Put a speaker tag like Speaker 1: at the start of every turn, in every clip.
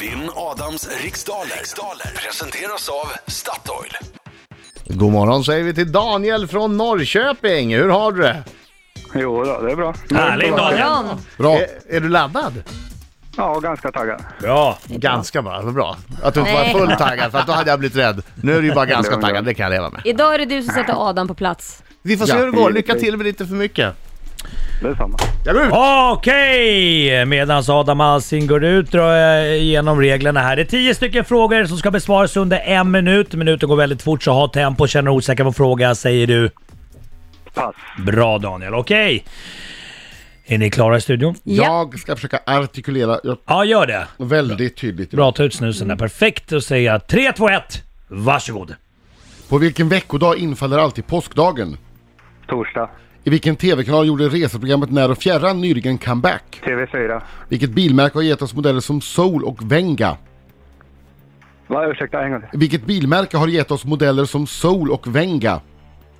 Speaker 1: Vinn Adams riksdaler. riksdaler presenteras av Statoil.
Speaker 2: God morgon säger vi till Daniel från Norrköping. Hur har du det?
Speaker 3: Jo då, det är bra.
Speaker 4: Härligt Daniel!
Speaker 5: Morgon!
Speaker 2: Bra. Är, är du laddad?
Speaker 3: Ja, ganska taggad.
Speaker 4: Bra!
Speaker 2: Ganska bra, vad bra. Att du inte
Speaker 5: Nej.
Speaker 2: var fullt taggad för att då hade jag blivit rädd. Nu är du ju bara ganska taggad, det kan jag leva med.
Speaker 5: Idag är det du som sätter Adam på plats.
Speaker 2: Vi får se Ja. hur det går, lycka till med inte för mycket.
Speaker 3: Detsamma.
Speaker 2: Jag går ut!
Speaker 4: Okej! Medan Adam Alsing går ut drar jag igenom reglerna här. Det är tio stycken frågor som ska besvaras under en minut. Minuten går väldigt fort så ha tempo. Känner du osäker på en fråga säger du
Speaker 3: Pass.
Speaker 4: bra Daniel. Okej! Är ni klara i studion?
Speaker 6: Jag ska försöka artikulera jag,
Speaker 4: Ja, gör det.
Speaker 6: väldigt tydligt.
Speaker 4: Bra, ta ut snusen där. Perfekt. Då säger jag 3, 2, 1. Varsågod.
Speaker 6: På vilken veckodag infaller alltid påskdagen?
Speaker 3: Torsdag.
Speaker 6: I vilken TV-kanal gjorde reseprogrammet När och fjärran nyligen comeback?
Speaker 3: TV4.
Speaker 6: Vilket bilmärke har gett oss modeller som Soul och Venga?
Speaker 3: Va, ursäkta, en gång till.
Speaker 6: Vilket bilmärke har gett oss modeller som Soul och Venga?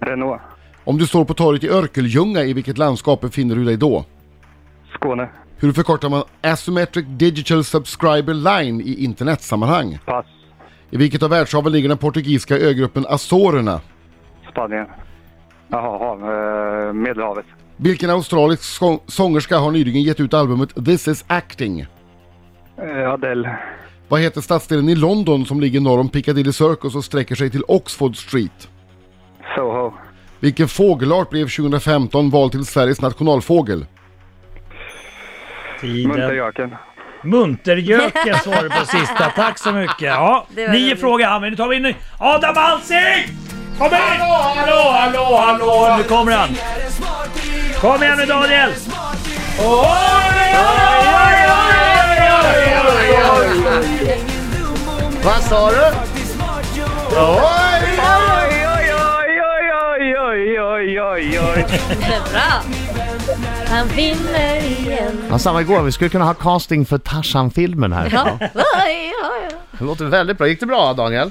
Speaker 3: Renault.
Speaker 6: Om du står på torget i Örkelljunga, i vilket landskap befinner du dig då?
Speaker 3: Skåne.
Speaker 6: Hur förkortar man Asymmetric Digital Subscriber Line i internetsammanhang?
Speaker 3: Pass.
Speaker 6: I vilket av världshaven ligger den portugisiska ögruppen Azorerna?
Speaker 3: Spanien. Jaha, hav, eh, Medelhavet.
Speaker 6: Vilken australisk sång- sångerska har nyligen gett ut albumet This is acting?
Speaker 3: Eh, Adele.
Speaker 6: Vad heter stadsdelen i London som ligger norr om Piccadilly Circus och sträcker sig till Oxford Street?
Speaker 3: Soho.
Speaker 6: Vilken fågelart blev 2015 vald till Sveriges nationalfågel?
Speaker 4: Tiden.
Speaker 3: Munterjöken.
Speaker 4: Munterjöken svarade på sista. Tack så mycket. Ja,
Speaker 5: Det var
Speaker 4: nio
Speaker 5: roligt.
Speaker 4: frågor han, men nu tar vi in ny- Adam Alsing! Kom in! Hallå, hallå, hallå! Nu kommer han. Kom igen nu Daniel! Oj, oj, oj, oj, oj, oj, oj.
Speaker 2: Vad sa du? Oj!
Speaker 3: Oj, oj, oj, oj, oj, oj, oj, oj.
Speaker 5: Bra! Han vinner igen.
Speaker 2: Han sa igår, vi skulle kunna ha casting för Tarzan-filmen här.
Speaker 5: Ja. Oj, oj, oj.
Speaker 2: Det låter väldigt bra. Gick det bra Daniel?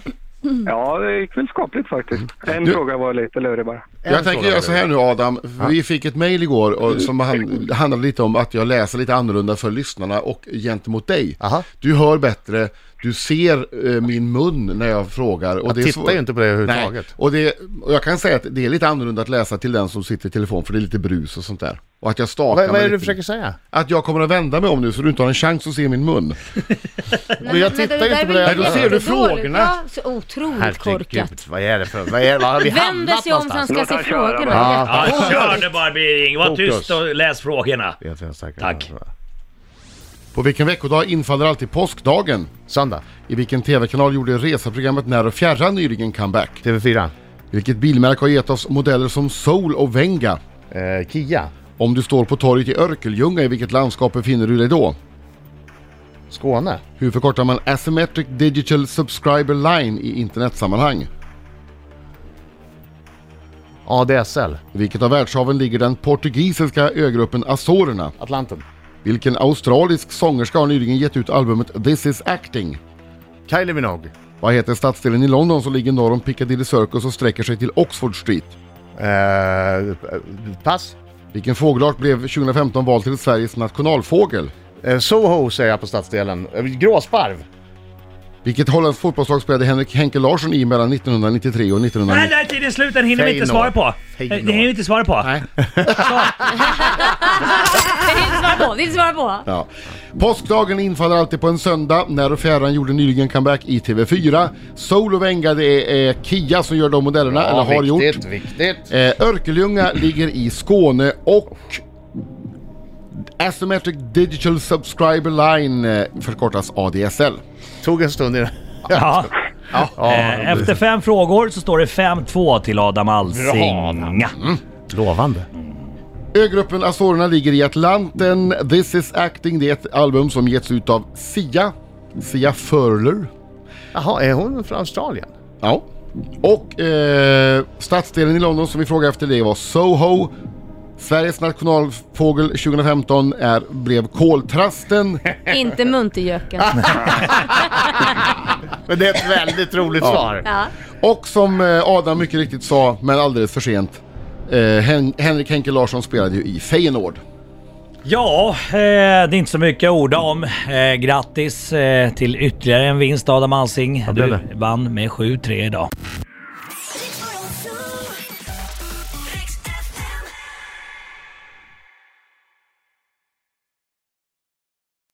Speaker 3: Ja, det gick väl skapligt faktiskt. En
Speaker 6: Du-
Speaker 3: fråga var lite lurig bara.
Speaker 6: jag tänker göra så här nu Adam, för vi fick ett mail igår och, som han, handlade lite om att jag läser lite annorlunda för lyssnarna och gentemot dig.
Speaker 2: Aha.
Speaker 6: Du hör bättre, du ser eh, min mun när jag frågar. Och
Speaker 2: Jag
Speaker 6: det är
Speaker 2: tittar
Speaker 6: svår-
Speaker 2: ju inte på det
Speaker 6: Nej,
Speaker 2: överhuvudtaget.
Speaker 6: och, det, och jag kan säga att det är lite annorlunda att läsa till den som sitter i telefon för det är lite brus och sånt där. Och att jag stakar
Speaker 2: Vad, vad
Speaker 6: mig
Speaker 2: är det du
Speaker 6: lite.
Speaker 2: försöker säga?
Speaker 6: Att jag kommer att vända mig om nu så du inte har en chans att se min mun.
Speaker 2: Men jag tittar ju inte på det.
Speaker 5: där är
Speaker 2: Nej,
Speaker 5: väl
Speaker 2: då ser du
Speaker 5: jättedåligt.
Speaker 6: frågorna.
Speaker 5: Ja, så otroligt korkat.
Speaker 2: vad är det för... Vad, är, vad har vi
Speaker 5: Vänder
Speaker 2: hamnat
Speaker 5: sig om för
Speaker 2: någonstans?
Speaker 5: han ska
Speaker 3: Låt
Speaker 5: se
Speaker 3: han köra
Speaker 5: frågorna.
Speaker 2: bara.
Speaker 5: Ja.
Speaker 4: Ja, kör nu bara Birging. Var
Speaker 2: Fokus.
Speaker 4: tyst och läs frågorna.
Speaker 2: Vet jag säkert.
Speaker 4: Tack.
Speaker 6: På vilken veckodag infaller alltid påskdagen?
Speaker 2: Söndag,
Speaker 6: I vilken tv-kanal gjorde reseprogrammet När och fjärran nyligen comeback?
Speaker 2: TV4.
Speaker 6: Vilket bilmärke har gett oss modeller som Soul och Venga?
Speaker 2: Eh, Kia,
Speaker 6: Om du står på torget i Örkelljunga, i vilket landskap befinner du dig då?
Speaker 2: Skåne,
Speaker 6: Hur förkortar man Asymmetric Digital Subscriber Line i internetsammanhang?
Speaker 2: ADSL,
Speaker 6: I vilket av världshaven ligger den portugisiska ögruppen Azorerna?
Speaker 2: Atlanten,
Speaker 6: Vilken australisk sångerska har nyligen gett ut albumet This is acting?
Speaker 2: Kylie Minogue,
Speaker 6: Vad heter stadsdelen i London som ligger norr om Piccadilly Circus och sträcker sig till Oxford Street?
Speaker 2: eh, pass.
Speaker 6: Vilken fågelart blev 2015 vald till Sveriges nationalfågel?
Speaker 2: Eh, Soho säger jag på stadsdelen. Eh, Gråsparv.
Speaker 6: Vilket holländskt fotbollslag spelade Henrik Henke Larsson i mellan 1993 och
Speaker 4: Nej,
Speaker 6: 1990?
Speaker 4: där är tiden slut. Den hinner vi inte svara
Speaker 2: Feyenoord.
Speaker 4: på. Eh, Det
Speaker 2: Feyenoord.
Speaker 4: hinner vi inte svara på.
Speaker 5: Det är inte svara på, det är inte svara på.
Speaker 6: Ja. Påskdagen infaller alltid på en söndag. När och fjärran gjorde nyligen comeback i TV4. Soul och Venga, det är eh, Kia som gör de modellerna, eller har gjort.
Speaker 2: viktigt, viktigt.
Speaker 6: Eh, Örkelljunga ligger i Skåne och Asymmetric Digital Subscriber Line eh, förkortas ADSL.
Speaker 2: Tog en stund innan.
Speaker 4: Ja.
Speaker 2: Ja,
Speaker 4: Eh, Efter fem frågor så står det 5-2 till Adam Alsing.
Speaker 2: Lovande.
Speaker 6: Ögruppen Azorerna ligger i Atlanten. This is acting, det är ett album som getts ut av Sia. Sia Furler.
Speaker 2: Jaha, är hon från Australien?
Speaker 6: Ja. Och eh, stadsdelen i London som vi frågade efter det var Soho. Sveriges nationalfågel 2015 är, blev koltrasten.
Speaker 5: Inte muntergöken.
Speaker 2: Men det är ett väldigt roligt svar.
Speaker 5: Ja.
Speaker 6: Och som eh, Adam mycket riktigt sa, men alldeles för sent, eh, Hen- Henrik Henke Larsson spelade ju i Feyenoord.
Speaker 4: Ja, eh, det är inte så mycket att orda om. Eh, grattis eh, till ytterligare en vinst Adam Alsing.
Speaker 2: det är
Speaker 4: Du vann med 7-3 idag.